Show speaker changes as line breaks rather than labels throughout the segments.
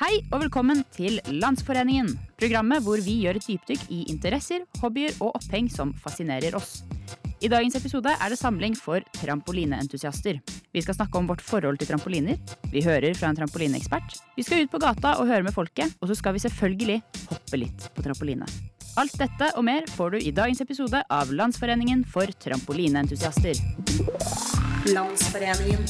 Hei og velkommen til Landsforeningen. Programmet hvor vi gjør et dypdykk i interesser, hobbyer og oppheng som fascinerer oss. I dagens episode er det samling for trampolineentusiaster. Vi skal snakke om vårt forhold til trampoliner. Vi hører fra en trampolineekspert. Vi skal ut på gata og høre med folket. Og så skal vi selvfølgelig hoppe litt på trampoline. Alt dette og mer får du i dagens episode av Landsforeningen for trampolineentusiaster.
Landsforeningen.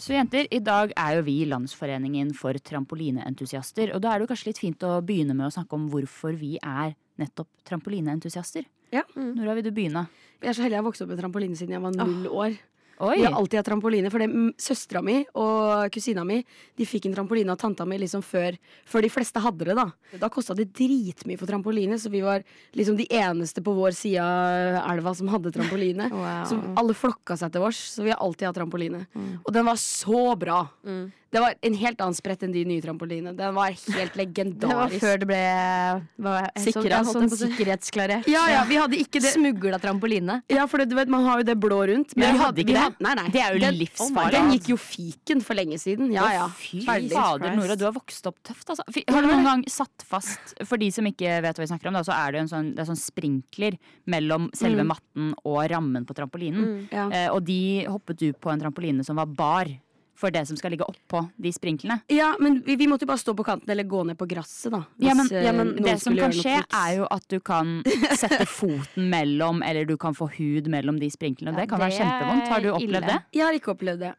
Så jenter, i dag er jo vi Landsforeningen for trampolineentusiaster. Og da er det jo kanskje litt fint å begynne med å snakke om hvorfor vi er nettopp trampolineentusiaster.
Ja.
Når vil du begynne?
Jeg er så heldig jeg har vokst opp med trampoline siden jeg var null år.
Oi!
Vi har alltid hatt trampoline, for det- mm, søstera mi og kusina mi De fikk en trampoline av tanta mi liksom før, før de fleste hadde det. Da Da kosta det dritmye for trampoline, så vi var liksom de eneste på vår side av elva som hadde trampoline.
Wow. Mm.
Så alle flokka seg til vårs, så vi har alltid hatt trampoline. Og den var så bra! Det var en helt annen sprett enn de nye trampolinene. Den var helt
Det var
legendarisk.
før det ble var,
Sikra,
sånn, ja,
holdt
sånn
jeg på å si.
sikkerhetsklarert.
Ja, ja, vi hadde ikke det
Smugla trampoline.
Ja, for det, du vet, man har jo det blå rundt.
Men
vi
hadde ikke
vi
det?
Nei, nei.
Det er jo
Den-
livsfarlig,
Den
altså.
gikk jo fiken for lenge siden. Ja, ja.
Å, Fy
Ferdig.
fader,
Christ.
Nora, du har vokst opp tøft. Altså. Fy- Har du noen gang satt fast For de som ikke vet hva vi snakker om, da, så er det jo en sånn, det er sånn sprinkler mellom selve matten og rammen på trampolinen.
Mm. Ja.
Eh, og de hoppet du på en trampoline som var bar for det som skal ligge oppå de sprinklene.
Ja, men vi, vi måtte jo bare stå på kanten eller gå ned på gresset, da.
Ja, men,
hvis, eh,
ja, men
noen
det som
skulle
kan
gjøre
skje,
noe triks.
er jo at du kan sette foten mellom, eller du kan få hud mellom de sprinklene. og
Ja,
det kan
det
være kjempevondt. Har du
er
opplevd
ille.
det?
Jeg har ikke opplevd det.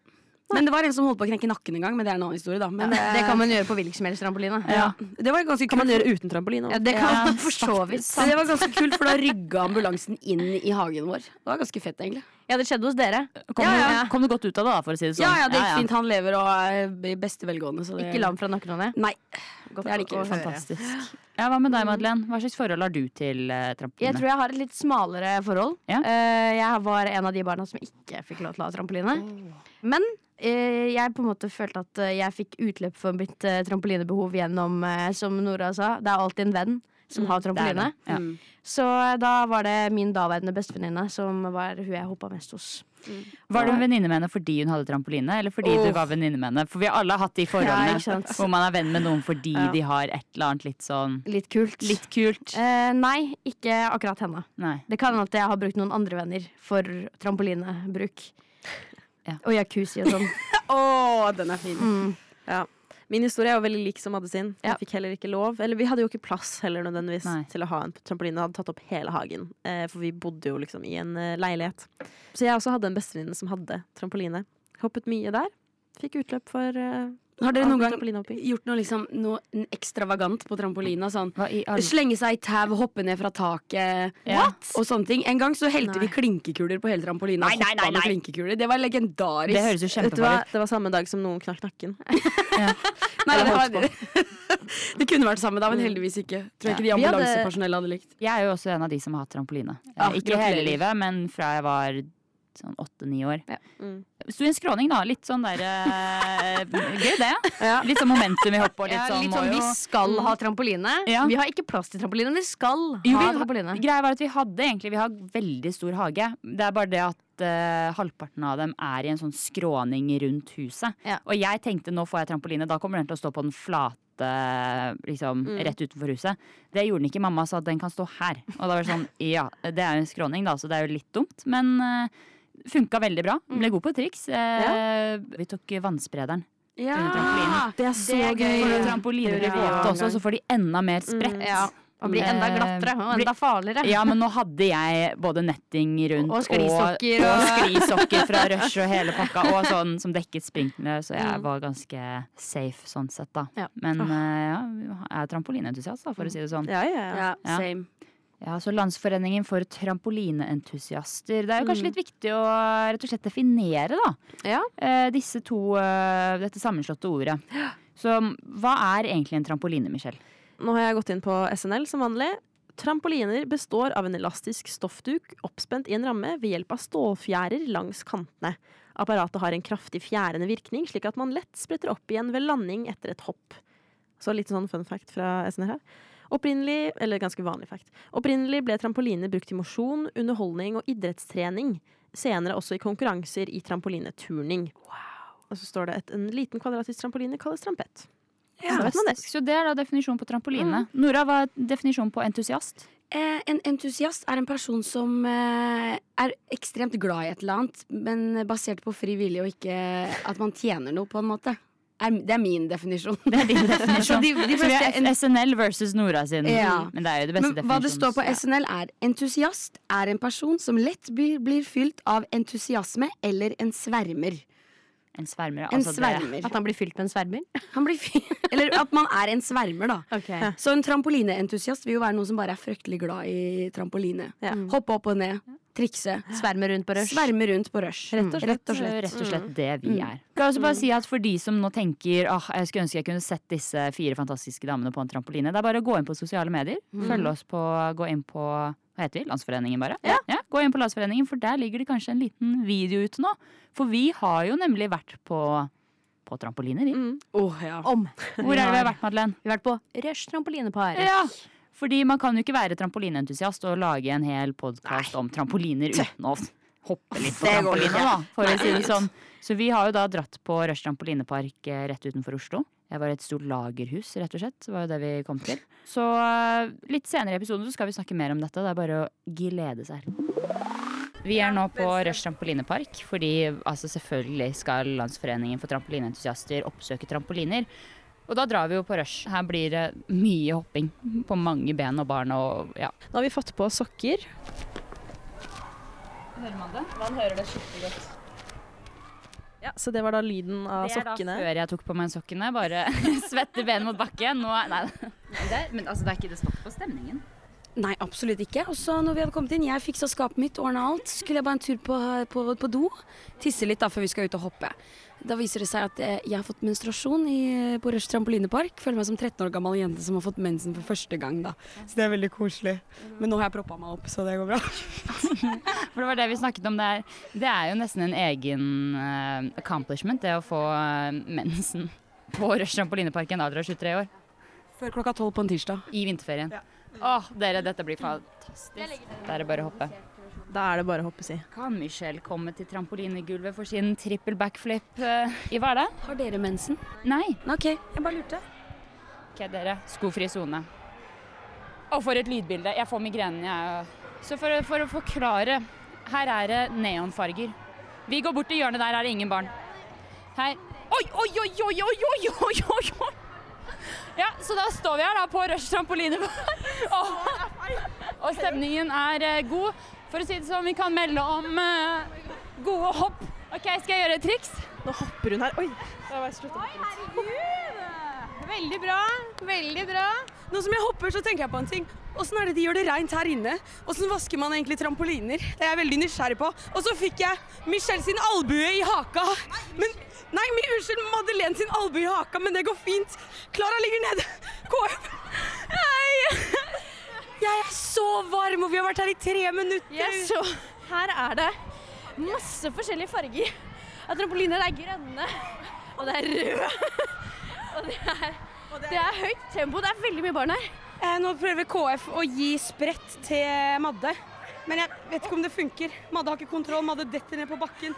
Men det var en som holdt på å knekke nakken en gang, men det er en annen historie, da. Men, eh,
Det kan man gjøre på hvilken som helst trampoline.
ja. Det var ganske kult.
gjøre uten trampoline.
Ja, det kan man for så vidt.
Men det var ganske kult, for da rygga ambulansen inn i hagen vår. Det var ganske fett, egentlig.
Ja, det skjedde hos dere.
Kom,
Ja,
du-
ja.
kom du godt ut av det, da, for å si det sånn?
Ja, ja, det gikk fint. Han lever og er i beste velgående. Så det...
Ikke lam fra nakken av det.
Nei. Det er det ikke.
å høre.
Fantastisk. Ja, hva med deg, Madeleine? Hva slags forhold har du til eh,
Jeg
trampoline?
tror jeg har et litt smalere forhold.
Ja.
Eh, Jeg var en av de barna som ikke fikk lov til å ha trampoline. Men eh, jeg på en måte følte at eh, jeg fikk utløp for mitt eh, trampolinebehov gjennom, eh, som Nora sa, det er alltid en venn som har
Det er
trampoline.
det. Ja.
Mm.
Så eh, da var det min daværende bestevenninne som var hun jeg hoppa mest hos.
Var du en venninne med henne fordi hun hadde trampoline, eller fordi du
Åh.
var venninne med henne? For vi har alle hatt de
Ja,
forholdene
ikke sant.
hvor man er venn med noen fordi
Ja.
de har et eller annet litt sånn
Litt kult.
litt kult.
Eh, nei, ikke akkurat henne.
Nei.
Det kan hende at jeg har brukt noen andre venner for trampolinebruk.
Ja.
Og jacuzzi og sånn.
Å, den er fin.
Ja. Min historie er jo veldig lik som Madde sin.
Ja.
Jeg fikk heller ikke lov. Eller vi hadde jo ikke plass heller nødvendigvis
Nei.
til å ha en trampoline. Jeg hadde tatt opp hele hagen, eh, for vi bodde jo liksom i en eh, leilighet. Så jeg også hadde en bestevenninne som hadde trampoline. Hoppet mye der. Fikk utløp for eh,
Har dere
all
noen gang
trampolinehopping.
gjort noe, liksom, noe ekstravagant på trampolina? Sånn
Hva i all
Slenge seg i tau, hoppe ned fra taket
Ja.
og sånne ting. En gang så helte
Nei.
vi klinkekuler på hele trampolina.
Nei, nei, nei,
hoppa med
nei.
klinkekuler. Det var legendarisk.
Det høres jo
Vet du hva?
kjempefarlig ut.
Det var samme dag som noen knakk nakken.
nei,
Jeg
det,
holdt
var, det kunne vært samme da, men heldigvis ikke. Tror jeg ikke de
Ja. Vi hadde-
ambulansepersonellet hadde likt.
Jeg er jo også en av de som har hatt trampoline.
Ja,
Eh, ikke
gratulerer.
hele livet, men fra jeg var sånn åtte-ni år.
Ja.
Mm.
Sto i en skråning, da. Litt sånn der eh, Gøy, det. Litt sånn momentum i hoppet og litt
Ja,
sånn.
litt
må
sånn vi
jo-
skal ha trampoline.
Ja.
Vi har ikke plass til trampoline, men vi skal
Jo,
ha
vi-
trampoline.
Greia var at vi hadde egentlig Vi har veldig stor hage. Det er bare det at eh, halvparten av dem er i en sånn skråning rundt huset.
Ja.
Og jeg tenkte nå får jeg trampoline, da kommer den til å stå på den flate. Liksom,
Mm.
Rett utenfor huset. Det gjorde den ikke. Mamma sa at den kan stå her. Og da var det sånn, ja, det er jo en skråning, da, så det er jo litt dumt. Men uh, funka veldig bra.
Mm.
Ble god på triks. Eh, Vi tok vannsprederen under trampolinen.
Det er
så Det er gøy.
For
gøy.
trampoliner
Det
blir
gjorde vi
våte
en
også,
gang. Mm,
så får de enda mer spredt.
Ja. Og bli enda
Eh,
glattere og
bli-
enda farligere.
Ja, men nå hadde jeg både netting rundt
Og sklisokker
og, og
og-
sklisokker fra Rush og hele pakka, og sånn som dekket sprinklene, så jeg var ganske safe sånn sett, da.
Ja.
Men eh, ja, jeg er trampolineentusiast, da, for å si det sånn.
Ja, ja, ja.
Ja,
Ja.
same.
Ja, så Landsforeningen for trampolineentusiaster. Det er jo kanskje litt viktig å rett og slett definere, da
Ja.
eh, disse to, eh, dette sammenslåtte ordet. Så hva er egentlig en trampoline, Michelle?
Nå har jeg gått inn på SNL som vanlig. Trampoliner består av en elastisk stoffduk oppspent i en ramme ved hjelp av stålfjærer langs kantene. Apparatet har en kraftig fjærende virkning, slik at man lett spretter opp igjen ved landing etter et hopp. Så litt sånn fun fact fra SNL her. Opprinnelig, eller ganske vanlig fact. Opprinnelig ble trampoliner brukt i mosjon, underholdning og idrettstrening. Senere også i konkurranser i trampolineturning. Og så står det at en liten kvadratisk trampoline kalles trampett.
Ja.
Så vet man det.
Fantastisk. Så det er da definisjonen på trampoline. Nora, hva er definisjonen på entusiast?
Eh, en entusiast er en person som eh, er ekstremt glad i et eller annet, men basert på fri vilje og ikke at man tjener noe, på en måte. Er, det er min definisjon.
Det er din
Så
definisjon.
de, de
liksom. Så vi
fleste,
er F- SNL versus Nora sin.
Ja.
Men det er jo det beste
men hva det står på
definisjons-
SNL er entusiast er en person som lett blir, blir fylt av entusiasme eller en svermer.
Ja, En svermer.
En
Altså det,
svermer.
At han blir fylt med en svermer?
Han blir fy- eller at man er en svermer, da.
Okay.
Så en trampolineentusiast vil jo være noen som bare er fryktelig glad i trampoline.
Ja.
Hoppe opp og ned, trikse,
Svermer rundt på rush? Mm.
sverme rundt på rush.
Rett og slett, rett og slett det vi
Mm.
er. Kan jeg også bare si at For de som nå tenker Åh, jeg skulle ønske jeg kunne sett disse fire fantastiske damene på en trampoline, det er bare å gå inn på sosiale medier.
Mm.
Følg oss på Gå inn på hva heter vi? Landsforeningen, bare? Ja. Gå inn på Landsforeningen, for der ligger det kanskje en liten video ute nå. For vi har jo nemlig vært på på trampoline,
Mm.
vi.
Mm.
Åh, ja.
Om.
Hvor er det vi har vært, Madeleine?
Vi har vært på rush trampolinepar.
Ja. Fordi man kan jo ikke være trampolineentusiast og lage en hel podkast om trampoliner uten å hoppe litt på
Det går
trampoline,
ikke.
da, for å si det sånn. Så vi har jo da dratt på Rush trampolinepark eh, rett utenfor Oslo. Det var et stort lagerhus, rett og slett. Det var jo det vi kom til. Så eh, litt senere i episoden så skal vi snakke mer om dette. Det er bare å glede seg. Vi er nå på Rush trampolinepark, fordi altså, selvfølgelig skal Landsforeningen for trampolineentusiaster oppsøke trampoliner. Og da drar vi jo på rush. Her blir det mye hopping på mange ben og barn og ja.
Nå har vi fått på sokker.
Hører man det?
Ja, så det var da lyden av
Det er da
sokkene.
før jeg tok på meg sokkene. Bare svette ben mot bakken. Nå er- Nei. Det er, men altså, det er ikke det stopp på stemningen.
Nei, absolutt ikke. Og så når vi hadde kommet inn, jeg fiksa skapet mitt, ordna alt. Så skulle jeg bare en tur på, eh, på, på do. Tisse litt da før vi skal ut og hoppe. Da viser det seg at eh, jeg har fått menstruasjon i, eh, på Rush trampolinepark. Føler meg som 13 år gammel jente som har fått mensen for første gang, da. Så det er veldig koselig. Men nå har jeg proppa meg opp, så det går bra.
For det var det vi snakket om der. Det er jo nesten en egen eh, accomplishment, det å få eh, mensen på Rush trampolineparken alder av 23 år.
Før klokka tolv på en tirsdag.
I vinterferien. Åh, dere, dette blir fantastisk. Da er det bare å hoppe.
Da er det bare å hoppe i.
Kan Michelle komme til trampolinegulvet for sin trippel backflip eh, i hva er det?
Har dere mensen?
Nei.
Nei, OK, jeg bare lurte.
Ok, dere. Skofri sone. Og for et lydbilde. Jeg får migrenen, jeg. Så for, å- for å forklare. Her er det neonfarger. Vi går bort til hjørnet der, er det ingen barn. Her. Oi, oi, oi, oi, oi, oi, oi, oi, oi. Ja, så da står vi her da på rush trampoline. og, og stemningen er eh, god. For å si det sånn, vi kan melde om eh, gode hopp. Ok, skal jeg gjøre et triks?
Nå hopper hun her. Oi! Da var jeg sluttet.
Veldig bra. Veldig bra. Nå som jeg hopper, så tenker jeg på en ting. Åssen er det de gjør det reint her inne? Åssen vasker man egentlig trampoliner? Det er jeg veldig nysgjerrig på. Og så fikk jeg Michelle sin albue i haka. Men Nei, mi- unnskyld, Madeleine sin albue i haka, men det går fint. Klara ligger nede. Går opp. Nei. Jeg er så varm, og vi har vært her i tre minutter.
Så her er det masse forskjellige farger. Av trampoliner det er grønne, og det er røde. Og det er, det er høyt tempo. Det er veldig mye barn her.
Eh, Nå prøver KF å gi sprett til Madde, men jeg vet ikke om det funker. Madde har ikke kontroll, Madde detter ned på bakken.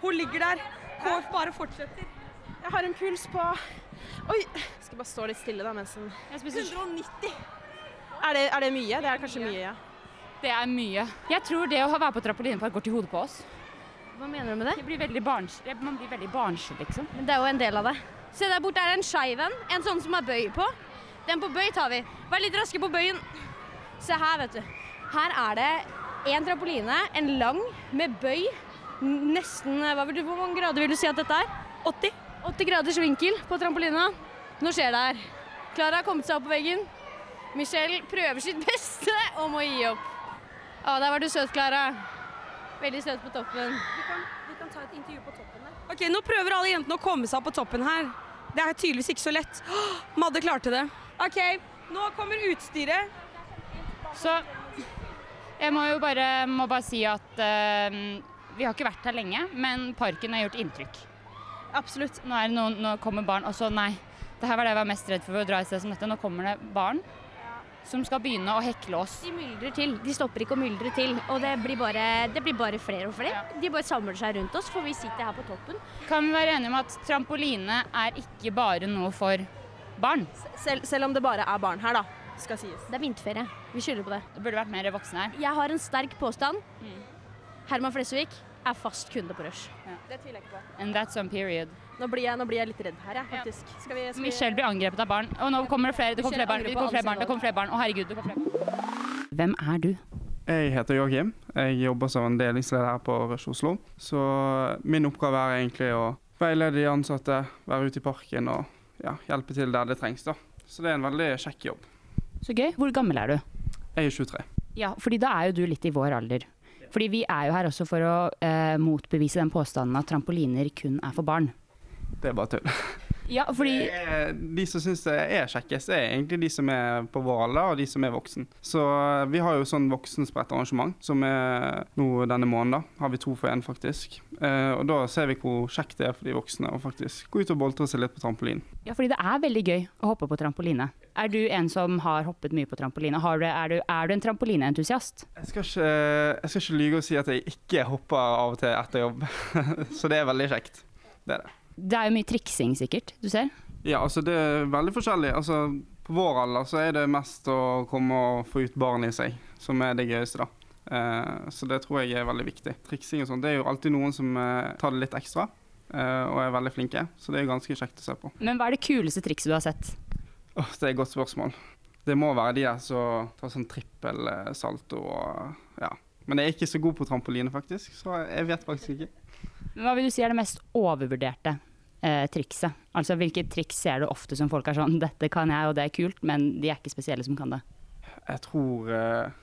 Hun ligger der. KF bare fortsetter.
Jeg har en puls på Oi! Skal bare stå litt stille, da, mens den
Jeg spiser
er det, er det mye? Det er kanskje mye, ja.
Det er mye. Jeg tror det å ha- være på trampolinepark går til hodet på oss.
Hva mener du med det?
Jeg blir veldig barns, jeg- man blir veldig barnslig, liksom.
Men det er jo en del av det. Se der borte er det en skeiv en. En sånn som er bøy på. Den på bøy tar vi. Vær litt raske på bøyen. Se her, vet du. Her er det en trampoline, en lang, med bøy. N- Nesten eh, hva vil du, Hvor mange grader vil du si at dette er? 80. 80 graders vinkel på trampolina. Nå skjer det her. Klara har kommet seg opp på veggen. Michelle prøver sitt beste og må gi opp. Å, der var du søt, Klara. Veldig søt på toppen.
Ok, Nå prøver alle jentene å komme seg opp på toppen her. Det er tydeligvis ikke så lett. Åh, Madde klarte det. OK, nå kommer utstyret.
Så jeg må jo bare, må bare si at eh, vi har ikke vært her lenge, men parken har gjort inntrykk. Absolutt. Nå, Altså, er det noen, nå kommer barn, og så nei. Det her var det jeg var mest redd for ved å dra et sted som dette. Nå kommer det barn. som skal begynne å hekle oss.
De myldrer til. De stopper ikke å myldre til. Og det blir bare, det blir bare flere og flere. De bare samler seg rundt oss, for vi sitter her på toppen.
Kan vi være enige om at trampoline er ikke bare noe for barn?
Selv, selv om det bare er barn her, da, skal sies.
Det er vinterferie. Vi skylder på det.
Det burde vært mer voksne her.
Jeg har en sterk påstand.
Mm.
Herman Flesvig er fast kunde på Rush.
Det tviler jeg ikke på.
And that's on period.
Nå blir jeg, nå blir jeg litt redd her, jeg, faktisk. Skal vi, skal vi
Michelle blir angrepet av barn. Og nå kommer det flere. Det kommer flere barn. Det kommer flere barn. Det kommer flere barn. Å, herregud, det kommer flere barn. Hvem er du?
Jeg heter Joakim. Jeg jobber som en delingsleder her på Rush Oslo. Så eh, min oppgave er egentlig å veilede de ansatte, være ute i parken og ja, hjelpe til der det trengs. da. Så det er en veldig kjekk jobb.
Så gøy. Hvor gammel er du?
Jeg er 23.
Ja, fordi da er jo du litt i vår alder. Fordi vi er jo her også for å eh, motbevise den påstanden at trampoliner kun er for barn.
Det er bare tull.
Ja, fordi
Det er- De som syns det er kjekkest, er egentlig de som er på vår alder, og de som er voksen. Så vi har jo sånn voksenspredt-arrangement som er nå denne måneden. da. Har vi to for én, faktisk. Eh, og da ser vi hvor kjekt det er for de voksne å faktisk gå ut og boltre seg litt på trampolin.
Ja, fordi det er veldig gøy å hoppe på trampoline. Er du en som har hoppet mye på trampoline? Har du, er, du, er du en trampolineentusiast?
Jeg skal, ikke, jeg skal ikke lyge og si at jeg ikke hopper av og til etter jobb, så det er veldig kjekt. Det er det.
Det er jo mye triksing sikkert, du ser.
Ja, altså det er veldig forskjellig. Altså, på vår alder så er det mest å komme og få ut barn i seg, som er det gøyeste, da. Eh, så det tror jeg er veldig viktig. Triksing og sånn, det er jo alltid noen som eh, tar det litt ekstra, eh, og er veldig flinke. Så det er ganske kjekt å se på.
Men hva er det kuleste trikset du har sett?
Åh, det er et godt spørsmål. Det må være de der som tar sånn trippelsalto og ja. Men jeg er ikke så god på trampoline, faktisk, så jeg vet faktisk ikke.
Men Hva vil du si er det mest overvurderte eh, trikset? Altså hvilke triks ser du ofte som folk er sånn Dette kan jeg, og det er kult, men de er ikke spesielle som kan det.
Jeg tror eh,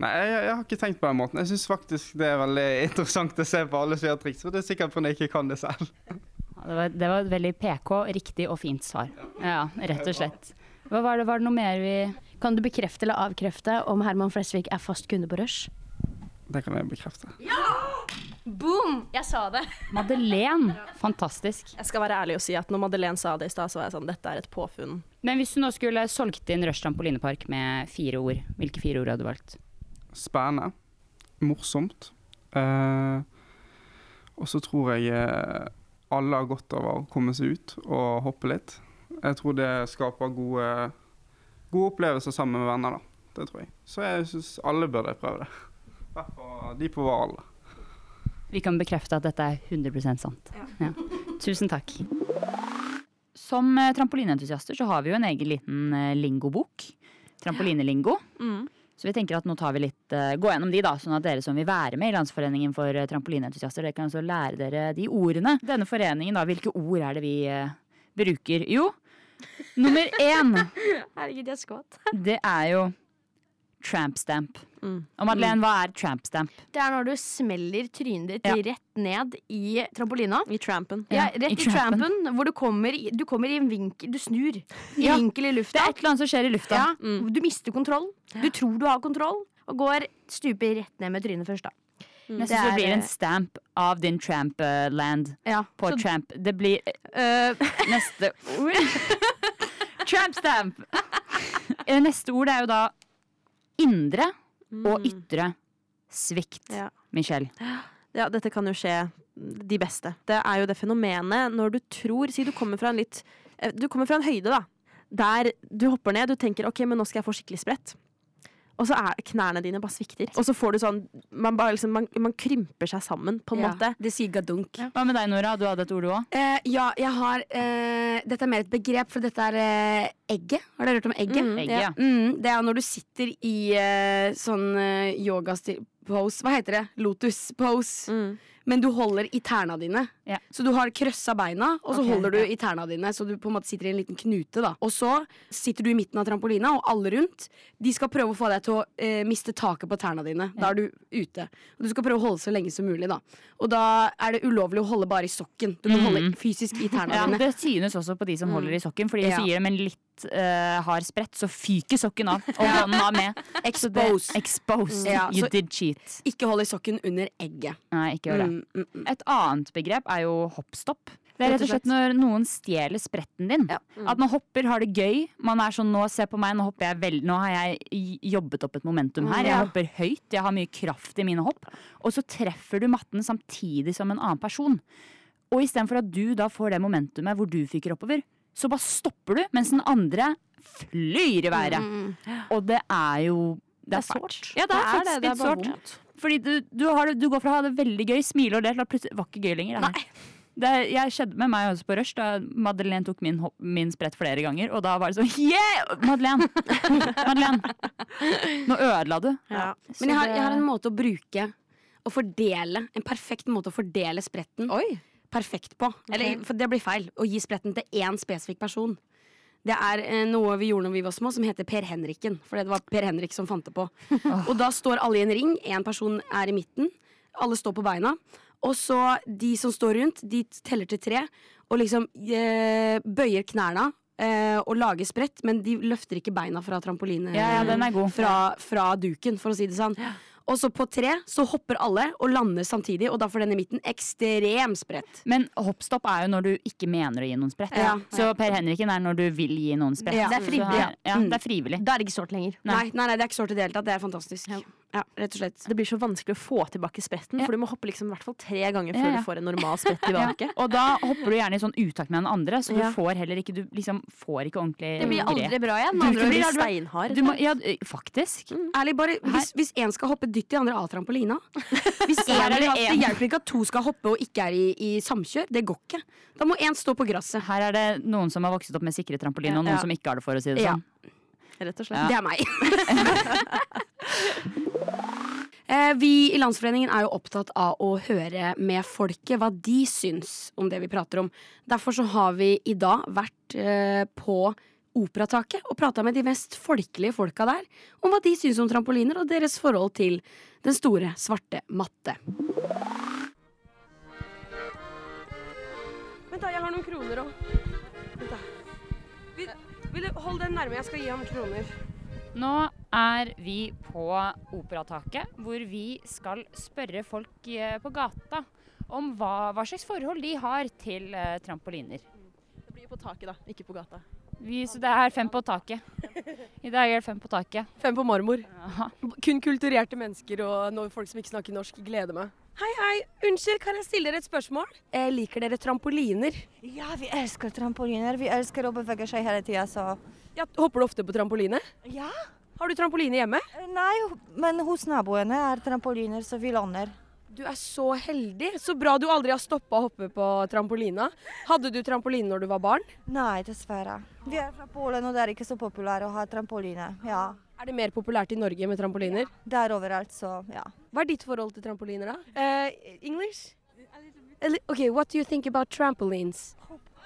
Nei, jeg, jeg har ikke tenkt på den måten. Jeg syns faktisk det er veldig interessant å se på alle som gjør triks, for det er sikkert fordi jeg ikke kan det selv.
Ja, Det var, det var et veldig PK, riktig og fint svar. Ja, rett og slett. Hva var det, var det noe mer vi
Kan du bekrefte eller avkrefte om Herman Flesvig er fast kunde på Rush?
Det kan jeg bekrefte.
Boom! Jeg sa det.
Madeleine! Fantastisk.
Jeg skal være ærlig og si at når Madeleine sa det i stad, så var jeg sånn Dette er et påfunn.
Men hvis du nå skulle solgt inn Rush trampolinepark med fire ord, hvilke fire ord hadde du valgt?
Spennende. Morsomt. Eh, og så tror jeg eh, alle har godt av å komme seg ut og hoppe litt. Jeg tror det skaper gode, gode opplevelser sammen med venner, da. Det tror jeg. Så jeg syns alle burde prøve det. I hvert fall de på vår alder.
Vi kan bekrefte at dette er 100 sant. Ja. Tusen takk. Som eh, trampolineentusiaster så har vi jo en egen liten eh, lingobok. Trampolinelingo.
Mm,
Så vi tenker at nå tar vi litt, eh, gå gjennom de, da, sånn at dere som vil være med i Landsforeningen for eh, trampolineentusiaster, dere kan altså lære dere de ordene. Denne foreningen, da, hvilke ord er det vi eh, bruker? Jo, nummer én,
Herregud, jeg skvatt.
det er jo tramp stamp.
Mm.
Og Madeleine, hva er tramp stamp?
Det er når du smeller trynet ditt
Ja.
rett ned i trampolina.
I trampen.
Ja,
Ja,
i
rett i
trampen.
trampen, hvor du kommer, i- du kommer i en vinkel Du snur i
Ja.
vinkel i
Det
lufta.
er et eller annet som skjer i lufta.
Mm.
Ja,
Mm.
Du mister kontroll. Du tror du har kontroll, og går stuper rett ned med trynet først, da.
Jeg syns
Det
det
er,
blir en
eh,
stamp av din tramp-land
Ja.
på
Så,
tramp. Det blir
øh,
neste ord. tramp stamp! Eh, neste ord er jo da indre og ytre svikt.
Mm. Ja.
Michelle.
Ja, dette kan jo skje de beste. Det er jo det fenomenet når du tror Si du kommer fra en litt eh, Du kommer fra en høyde, da. Der du hopper ned, du tenker OK, men nå skal jeg få skikkelig spredt. Og så er knærne dine bare svikter. Og så får du sånn Man, bare liksom, man, man krymper seg sammen, på en
Ja,
måte.
Det sier gadunk.
Hva med deg, Nora? Du hadde et ord, du òg.
Eh, ja, jeg har eh, Dette er mer et begrep, for dette er eh, egget. Har dere hørt om egget?
Mm,
Egget, ja.
Mm, det er når du sitter i eh, sånn eh, yogastil- Pose. Hva heter det? Lotus pose.
Mm.
Men du holder i tærne dine.
Ja.
Så du har krøssa beina, og så
Ok,
holder du
ja.
i tærne dine. Så du på en måte sitter i en liten knute, da. Og så sitter du i midten av trampolina, og alle rundt De skal prøve å få deg til å eh, miste taket på tærne dine. Da er du ute. Og du skal prøve å holde så lenge som mulig, da. Og da er det ulovlig å holde bare i sokken. Du må holde
Mhm.
fysisk i tærne
Ja,
dine.
det synes også på de som holder i sokken, Fordi
Ja.
så gir dem en litt uansett eh, har spredt, så fyker sokken av. Og hånden av med. Så det-
Exposed.
Exposed.
Ja,
you
så-
did cheat.
Ikke hold i sokken under egget.
Nei, ikke gjør det.
Mm, mm, mm.
Et annet begrep er jo hoppstopp. Det er rett og slett når noen stjeler spretten din.
Ja.
At man hopper, har det gøy. Man er sånn 'nå, se på meg, nå hopper jeg vel Nå har jeg j- jobbet opp et momentum her. Jeg
Ja.
hopper høyt, jeg har mye kraft i mine hopp. Og så treffer du matten samtidig som en annen person. Og istedenfor at du da får det momentumet hvor du fyker oppover, så bare stopper du, mens den andre flyr i været. Og det er jo Mm. Det er, fælt. Ja, det er, faktisk litt sårt. Fordi du, du, har, det- du går fra å ha det veldig gøy, smile og le, til at plutselig var ikke gøy lenger. Det, her. det jeg skjedde med meg også på rush. Da Madeleine tok min, hopp- min sprett flere ganger, og da var det sånn Yeah! Madeleine! Madeleine! Nå ødela du.
Ja.
Men jeg har, jeg har en måte å bruke Å fordele. En perfekt måte å fordele spretten
Oi.
perfekt på. Eller, for det blir feil. Å gi spretten til én spesifikk person. Det er eh, noe vi gjorde når vi var små som heter Per Henriken. For det var Per Henrik som fant det på. Og da står alle i en ring. Én person er i midten. Alle står på beina. Og så de som står rundt, de teller til tre og liksom eh, bøyer knærne eh, og lager sprett, men de løfter ikke beina fra trampoline
Ja, ja, den er god.
fra, fra duken, for å si det sånn. Og så på tre så hopper alle og lander samtidig, og da får den i midten ekstrem spredt.
Men hoppstopp er jo når du ikke mener å gi noen sprett.
Ja.
Så Per Henriken er når du vil gi noen sprett.
Ja. Det er
Så
frivillig,
her-
ja.
Ja, det er frivillig.
Da er det ikke sårt lenger.
Nei.
Nei, nei, nei, det er ikke sårt i det hele tatt. Det er fantastisk. Ja. rett og slett.
Det blir så vanskelig å få tilbake spretten, for du må hoppe liksom i hvert fall tre ganger før
Ja, ja.
du får en normal sprett tilbake.
Og da hopper du gjerne i sånn utakt med den andre, så du
Ja.
får heller ikke Du liksom får ikke ordentlig
Det blir
grep.
aldri bra igjen.
Du
med andre
blir
ord.
aldri-
steinhard.
Du må, ja, faktisk.
Ærlig, bare, hvis, hvis en skal hoppe, dytt de andre av trampolina. Hvis en
er
er
det
i hatt,
en.
det hjelper ikke at to skal hoppe og ikke er i, i samkjør. Det går ikke. Da må én stå på gresset.
Her er det noen som har vokst opp med sikre trampoline, og noen
Ja.
som ikke har det, for å si det
Ja.
sånn.
Rett og slett.
Ja.
Det er meg. Eh, Vi i Landsforeningen er jo opptatt av å høre med folket hva de syns om det vi prater om. Derfor så har vi i dag vært eh, på Operataket og prata med de mest folkelige folka der om hva de syns om trampoliner og deres forhold til den store, svarte matte.
Vent, da, jeg har noen kroner òg. Vent, da. Vil, vil du Hold den nærme, jeg skal gi ham kroner.
Nå er vi på Operataket, hvor vi skal spørre folk eh, på gata om hva, hva slags forhold de har til eh, trampoliner.
Det blir på taket, da, ikke på gata.
Vi, så det er fem på taket. I dag er det fem på taket.
Fem på marmor. Kun kulturerte mennesker og no- folk som ikke snakker norsk. Gleder meg. Hei, hei. Unnskyld, kan jeg stille dere et spørsmål? Eh, liker dere trampoliner?
Ja, vi elsker trampoliner. Vi elsker å bevege seg hele tida, så
Ja, hopper du ofte på trampoline?
Ja.
Har du trampoline hjemme?
Nei, men hos naboene er trampoliner, så vi låner.
Du er så heldig. Så bra du aldri har stoppa å hoppe på trampolina. Hadde du trampoline når du var barn?
Nei, dessverre. Vi er fra Polen, og det er ikke så populært å ha trampoline. Ja.
Er det mer populært i Norge med trampoliner?
Det er overalt, så ja.
Hva er ditt forhold til trampoliner, da? Eh, English? A li- Okay, what do you think about trampolines?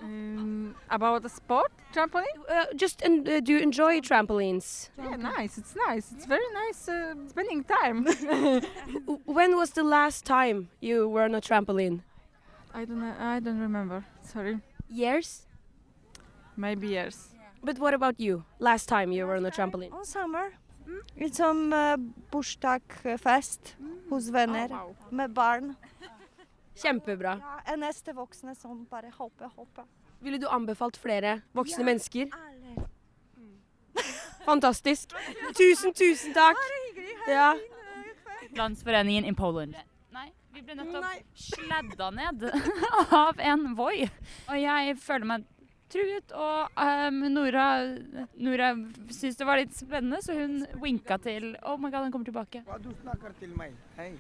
Mm, about the sport trampoline?
Uh, just en- uh, do you enjoy trampolines?
Yeah, nice. It's nice. It's very nice uh, spending time.
W- When was the last time you were on a trampoline?
I don't. know- I don't remember. Sorry.
Years.
Maybe years.
But what about you? Last time you were on a trampoline?
On summer. Litt som eh, bursdagsfest hos venner
wow.
med barn.
Kjempebra.
Ja, en neste voksne som bare hopper, hopper.
Ville du anbefalt flere voksne
Ja.
mennesker?
Alle.
Fantastisk. Tusen, tusen takk. Ja.
Landsforeningen in Poland. Nei, vi ble nettopp sladda ned av en Voi. Og jeg føler meg truet, og ehm, Nora, Nora syntes det var litt spennende, så hun winka til Oh my god, han kommer tilbake.
Hva du snakker til meg? Hei.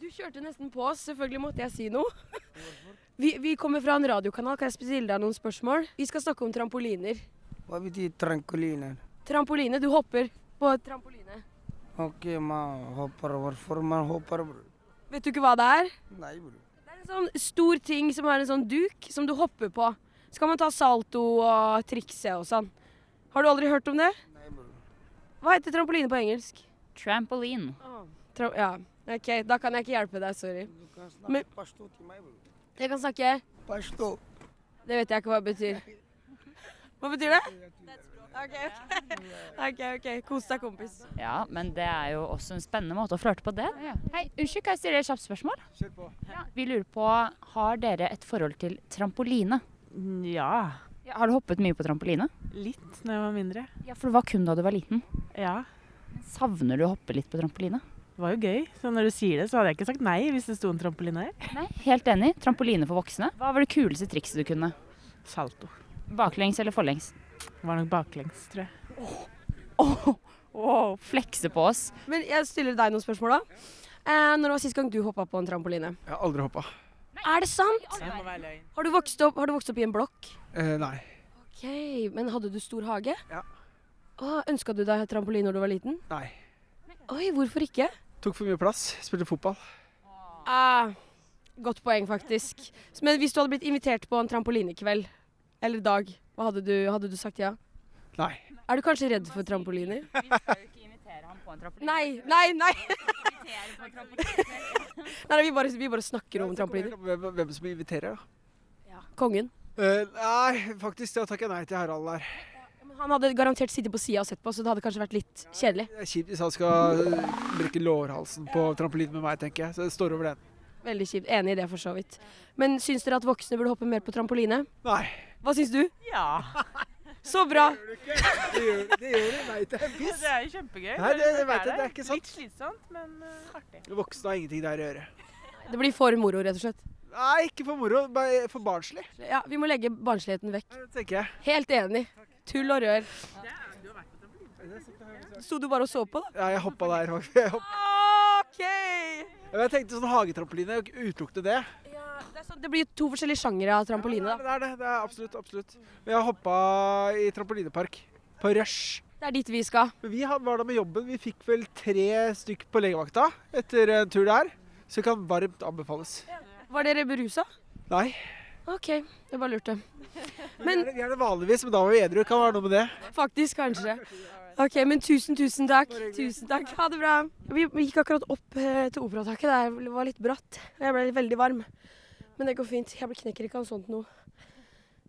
Du kjørte nesten på oss. Selvfølgelig måtte jeg si noe. Vi, vi kommer fra en radiokanal. Kan jeg stille deg noen spørsmål? Vi skal snakke om trampoliner.
Hva betyr tranquiliner?
Trampoline. Du hopper på trampoline.
Ok, man hopper. Hvorfor man hopper? bror?
Vet du ikke hva det er?
Nei, bror.
Det er en sånn stor ting som er en sånn duk som du hopper på. Så kan man ta salto og trikse og sånn. Har du aldri hørt om det?
Nei, bror.
Hva heter trampoline på engelsk?
Trampoline.
Tra ja, OK. Da kan jeg ikke hjelpe deg. Sorry.
Du kan
Men-
snakke pashto til meg, bror.
Jeg kan snakke
Pashto.
Det vet jeg ikke hva det betyr.
Hva betyr det? OK, ok. ok, ok. Kos deg, kompis.
Ja, men det er jo også en spennende måte å flørte på det. Hei, unnskyld, kan jeg stille et kjapt spørsmål?
Kjør på.
Vi lurer på, har dere et forhold til trampoline?
Mm, Ja.
Ja, Har du hoppet mye på trampoline?
Litt når jeg var mindre.
Ja, for det var kun da du var liten.
Ja.
Savner du å hoppe litt på trampoline?
Det var jo gøy. Så når du sier det, så hadde jeg ikke sagt nei hvis det sto en trampoline her.
Nei, helt enig. Trampoline for voksne. Hva var det kuleste trikset du kunne?
Salto.
Baklengs eller forlengs?
Det var nok baklengs, tror jeg.
Wow, flekse på oss.
Men jeg stiller deg noen spørsmål, da. Eh, når var sist gang du hoppa på en trampoline?
Jeg har aldri hoppa.
Er det sant? Har du vokst opp, har du vokst opp i en blokk?
Eh, nei.
Ok, Men hadde du stor hage?
Ja.
Ønska du deg trampoline når du var liten?
Nei.
Oi, hvorfor ikke?
Tok for mye plass. Spilte fotball.
Ah, godt poeng, faktisk. Men hvis du hadde blitt invitert på en trampolinekveld eller dag, hva hadde du, hadde du sagt ja?
Nei.
Er du kanskje redd for trampoliner?
på en trampoline.
Nei, nei, nei! nei vi, bare, vi bare snakker om trampoliner.
Hvem, hvem som inviterer, da?
Kongen.
Eh, nei, faktisk, da takker jeg nei til Harald der.
Men Han hadde garantert sittet på sida og sett på, så det hadde kanskje vært litt kjedelig.
Det er kjipt hvis han skal brekke lårhalsen på trampolin med meg, tenker jeg. Så det står over den.
Veldig kjipt. Enig i det, for så vidt. Men syns dere at voksne burde hoppe mer på trampoline?
Nei.
Hva syns du?
Ja.
Så bra!
Det gjør det, det nei til en piss.
Det er jo kjempegøy.
Nei, det- det vet jeg, det er ikke sant.
Litt slitsomt, men eh, artig.
Voksne har ingenting der å gjøre.
Det blir for moro, rett og slett.
Nei, ikke for moro, bare for barnslig,
Ja, Vi må legge barnsligheten vekk.
tenker jeg.
Helt enig. Tull og rør. Sto du bare og så på, da?
Ja, jeg hoppa der òg. Jeg, hopp-
OK!
Ja, men jeg tenkte sånn hagetrampoline, utelukkende det.
Det, er sånn, det blir to forskjellige sjangere av trampoline,
Ja,
da.
Det er det. det er Absolutt. absolutt. Men Jeg hoppa i trampolinepark på Rush.
Det er dit vi skal.
Men vi ha- var da med jobben. Vi fikk vel tre stykk på legevakta etter en tur der. Så kan varmt anbefales.
Var dere berusa?
Nei.
OK, jeg bare lurte.
Men, vi, er det, vi er det vanligvis, men da var vi edru. Kan være noe med det.
Faktisk, kanskje. OK, men tusen, tusen takk. Tusen takk. Ha det bra. Vi vi gikk akkurat opp eh, til Operataket. Det var litt bratt. og Jeg ble veldig varm. Men det går fint. Jeg blir- knekker ikke av sånt noe.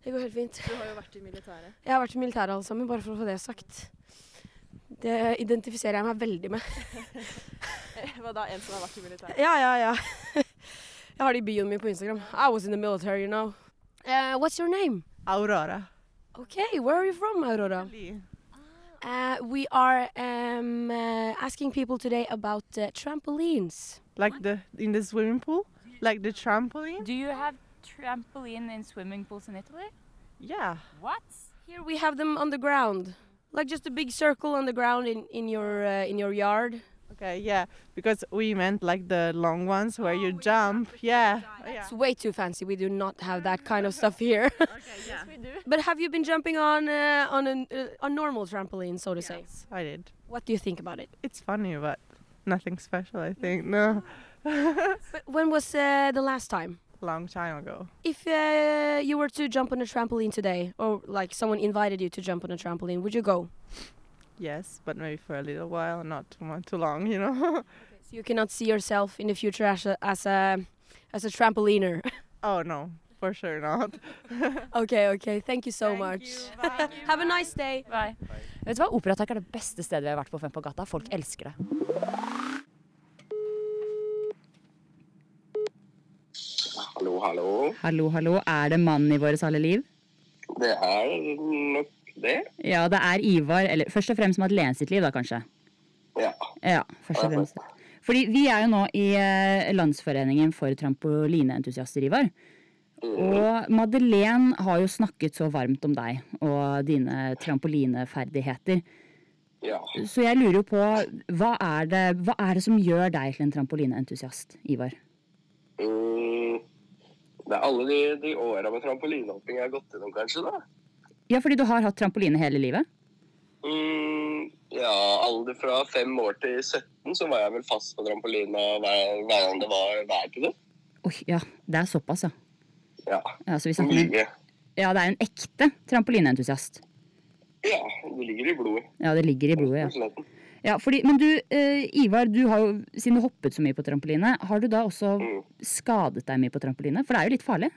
Det går helt fint.
Du har jo vært i militæret.
Jeg har vært i militæret alle sammen, bare for å få det sagt. Det identifiserer jeg meg veldig med.
Hva da, en som har vært i militæret?
Ja, ja, ja. Jeg har det i bioen min på Instagram. I was in the military, you know. Eh, what's your name?
Aurora.
Okay, where are you from, Aurora? Uh, we are um, uh, asking people today about uh, trampolines.
Like the, in the swimming pool? Like the trampoline?
Do you have trampoline in swimming pools in Italy?
Yeah.
What?
Here we have them on the ground, like just a big circle on the ground in, in your uh, in your yard.
Okay, yeah. Because we meant like the long ones where you jump. Yeah.
Oh,
It's way too fancy. We do not have that kind of stuff here. but have you been jumping on uh, on a uh, on normal trampoline, so to say?
I did.
What do you think about it?
It's funny, but nothing special, I think. No.
But when was uh, the last time?
Long time ago.
If uh, you were to jump on a trampoline today, or like someone invited you to jump on a trampoline, would you go?
Yes, but maybe for a little while, not too much, too long, you know.
So you cannot see yourself in the future as a as a, as a trampoliner.
oh no, for sure not.
okay, okay. Thank you so much. Have a nice day.
Bye. Vet du hva? Operatak er det beste stedet vi har vært på Fem på gata. Folk elsker det.
Hallo, hallo.
Hallo, hallo. Er det mannen i våre alle liv?
Det er nok det.
Ja, det er Ivar. Eller først og fremst Madeleine sitt liv, da, kanskje.
Ja.
Ja, først og fremst. Fordi vi er jo nå i eh, Landsforeningen for trampolineentusiaster, Ivar. Og Madeleine har jo snakket så varmt om deg og dine trampolineferdigheter.
Ja.
Så jeg lurer jo på, hva er det, hva er det som gjør deg til en trampolineentusiast, Ivar?
Mm, det er alle de, de åra med trampolinehopping jeg har gått gjennom, kanskje, da.
Ja, fordi du har hatt trampoline hele livet?
Mm, ja, alder fra fem år til 17 så var jeg vel fast på trampolina hver, hver gang det var vær til det.
Oi, ja, det er såpass, ja.
Ja.
Ja, så vi snakker om,
Mye.
ja, det er en ekte trampolineentusiast.
Ja, det ligger i blodet.
Ja, det ligger i blodet,
Mm.
ja. Ja, fordi, men du, eh, Ivar, du har jo, siden du hoppet så mye på trampoline, har du da også skadet deg mye på trampoline? For det er jo litt farlig?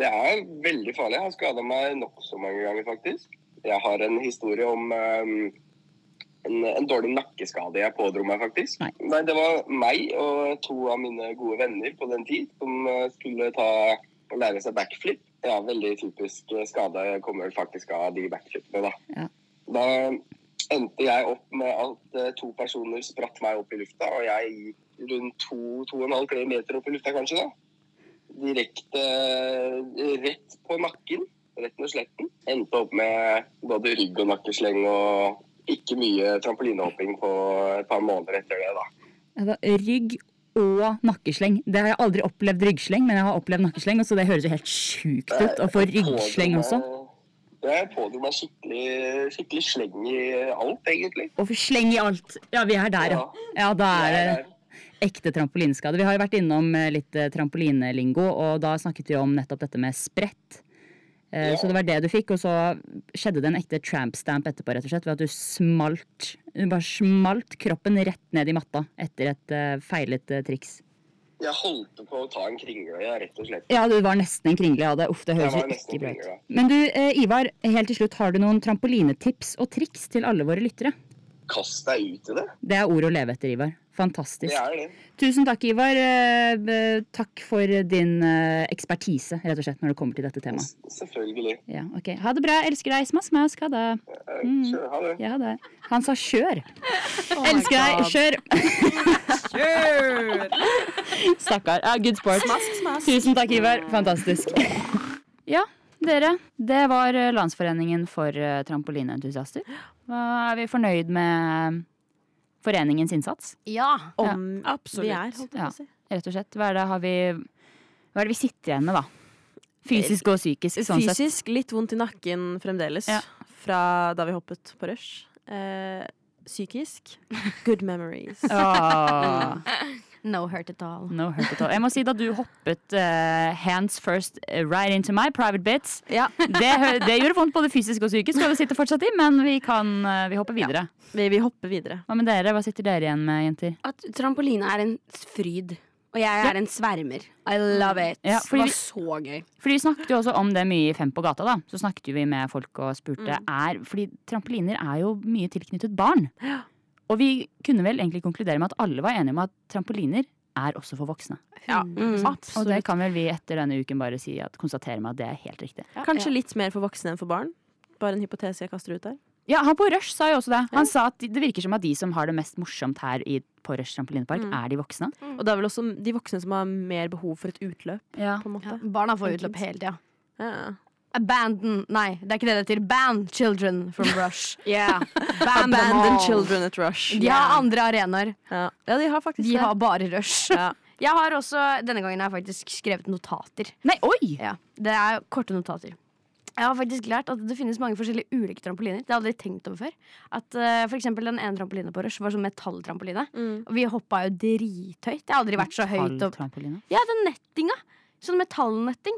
Det er veldig farlig. Jeg har skada meg nokså mange ganger, faktisk. Jeg har en historie om eh, en, en dårlig nakkeskade jeg pådro meg, faktisk. Nei. det var meg og to av mine gode venner på den tid som eh, skulle ta og lære seg backflip. Ja, veldig typisk eh, skade kommer vel faktisk av de backflipene, da. Da endte jeg opp med at eh, to personer spratt meg opp i lufta, og jeg gikk rundt to, to og en halv, tre meter opp i lufta kanskje, da. Direkte eh, rett på nakken, rett med sletten. Endte opp med både rygg og nakkesleng og ikke mye trampolinehopping på et par måneder etter det, da.
Altså, rygg og nakkesleng. Det har jeg aldri opplevd ryggsleng, men jeg har opplevd nakkesleng, og så det høres jo helt sjukt ut
Eh,
å få ryggsleng også.
Jeg pådro meg skikkelig, skikkelig sleng i alt, egentlig.
Og for sleng i alt. Ja, vi er der, ja. Ja, da er det ekte trampolineskade. Vi har jo vært innom eh, litt eh, trampolinelingo, og da snakket vi om nettopp dette med sprett. Eh, Så det var det du fikk, og så skjedde det en ekte tramp stamp etterpå, rett og slett, ved at du smalt, du bare smalt kroppen rett ned i matta etter et eh, feilet eh, triks.
Jeg holdt på å ta en kringløye, rett og slett.
Ja, du var nesten en kringle. Ja, det, uff, det
Jeg
høres jo
var nesten
ikke bra
en
ut.
kringle,
Men du, eh, Ivar, helt til slutt, har du noen trampolinetips og triks til alle våre lyttere?
Kast deg ut i det.
Det er ord å leve etter, Ivar. Fantastisk.
Det er det.
Tusen takk, Ivar. Eh, b- Takk for din eh, ekspertise, rett og slett, når det kommer til dette temaet.
Selvfølgelig. Eh,
Ja, ok. Ha det bra. Elsker deg. Smask, smask. Ha det. Mm.
Ha det.
Ja, ha det. Han sa kjør.
my
Elsker deg.
God.
Kjør. kjør! Stakkar. Ja, good sport.
Smask, smask.
Tusen takk, Ivar. Fantastisk. ja, dere. Det var eh, Landsforeningen for eh, trampolineentusiaster. Hva- Er vi fornøyd med eh, foreningens innsats?
Ja.
Om
Ja,
vi er, holdt jeg på å si.
Ja, rett og slett. Hva er det, har vi, hva er det vi sitter igjen med, da? Fysisk og psykisk, sånn sett.
Fysisk litt vondt i nakken fremdeles fra da vi hoppet på rush. Eh, psykisk good memories.
Ah.
No hurt at all.
No hurt at all. Jeg må si da du hoppet eh, hands first eh, right into my private bits det, hø- det gjorde vondt både fysisk og psykisk, og det sitter fortsatt i, men vi, kan, eh, vi hopper videre.
Vi, hopper videre.
Hva med dere? Hva sitter dere igjen med, jenter?
At trampoline er en fryd. Og jeg
Ja.
er en svermer. I love it.
Ja, fordi vi-
det var så gøy.
Fordi Vi snakket jo også om det mye i Fem på gata. da Så snakket jo vi med folk og spurte
Mm.
er, Fordi trampoliner er jo mye tilknyttet barn. Og vi kunne vel egentlig konkludere med at alle var enige om at trampoliner er også for voksne.
Ja,
Mm.
absolutt.
Og det kan vel vi etter denne uken bare si at, konstatere med at det er helt riktig.
Kanskje litt mer for voksne enn for barn. Bare en hypotese jeg kaster ut der.
Ja, han på Rush sa jo også det. Han sa at det virker som at de som har det mest morsomt her i, på Rush trampolinepark,
Mm.
er de voksne.
Og det er vel også de voksne som har mer behov for et utløp. På en måte.
Barna får utløp hele tida. Abandon Nei, det er ikke det det heter. Ban children from Rush. yeah. Ban them
Abandon
all.
children at rush.
De har andre arenaer.
Ja. ja, de har faktisk
De
det.
har bare Rush. Jeg har også, Denne gangen har jeg faktisk skrevet notater.
Nei, oi!
Ja, det er korte notater. Jeg har faktisk lært at det finnes mange forskjellige ulike trampoliner. Det har jeg aldri tenkt over før. At eh, for eksempel Den ene trampolina på Rush var sånn metalltrampoline. Og vi hoppa jo drithøyt. Jeg har aldri vært så høyt opp.
Trampoline.
Ja, den nettinga. Sånn metallnetting.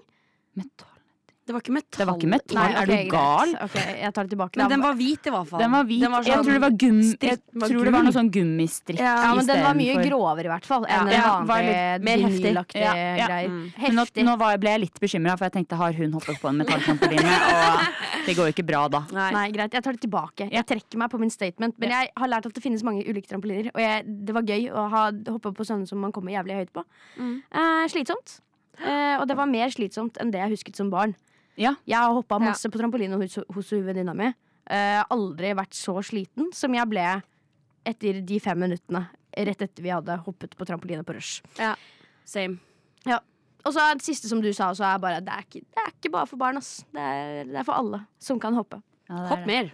Det var ikke metall.
Det var ikke metall.
Nei,
er
ok,
du
greit.
gal?
Ok, jeg tar det tilbake.
Men den var hvit i hvert fall.
Den var hvit.
Den var
jeg
sånn-
tror det var, gum, jeg
Strikk- var
tror det var
gul.
noe sånn gummistrikk
Ja, men den var mye
istedenfor-
grovere i hvert fall enn en vanlig vinylaktig greier.
Men nå, nå var, jeg- ble jeg litt bekymra, for jeg tenkte har hun hoppet på en metalltrampoline? og det går jo ikke bra da.
Nei. greit. Jeg tar det tilbake. Jeg trekker meg på min statement. Men jeg har lært at det finnes mange ulike trampoliner, og jeg, det var gøy å ha, hoppe på sånne som man kommer jævlig høyt på. Eh, slitsomt. Eh, og det var mer slitsomt enn det jeg husket som barn. Jeg har hoppa masse på trampoline hos, hos venninna mi. Eh, aldri vært så sliten som jeg ble etter de fem minuttene rett etter vi hadde hoppet på trampoline på rush.
Same.
Ja. Og så er det siste som du sa, så er bare det er ikke, det er ikke bare for barn, ass. Det er, det er for alle som kan hoppe.
Ja, det er det.
mer.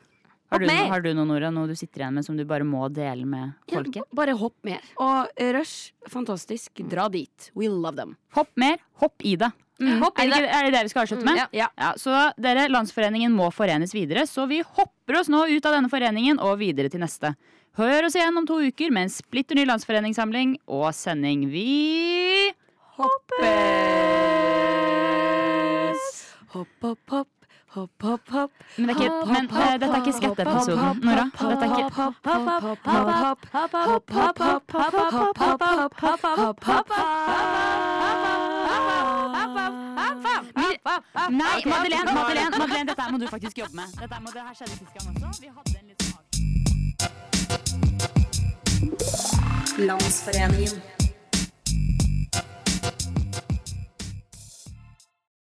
Har du,
Hopp
noe-
mer.
har du noe, Nora, noe du sitter igjen med som du bare må dele med folket?
Bare hopp mer. Og eh, Rush, fantastisk. Dra dit. We love them.
Hopp mer, hopp i det.
Mm.
er, det ikke, er det det vi skal avslutte med?
Mm, ja.
så dere, Landsforeningen må forenes videre, så vi hopper oss nå ut av denne foreningen og videre til neste. Hør oss igjen om to uker med en splitter ny landsforeningssamling og sending. Vi hoppes!
Hopp, hopp, hopp. Hopp, hopp, hopp.
Men, det er ikke,
Hopp,
men
hopp,
eh,
hopp,
dette er ikke
hopp, hopp,
skatteepisoden, Nora.
hopp,
Dette er ikke
hopp, hopp, hopp, hopp, hopp, hopp, hopp, hopp, hopp, hopp, hopp, hopp, hopp, hopp, hopp, hopp.
Vi,
Hva?
Hva?
Nei,
Hva?
Madeleine,
Hva?
Madeleine, Madeleine, dette her må du faktisk jobbe med. Dette her må, det her skjedde sist gang også. Vi hadde en litt sånn
Landsforeningen.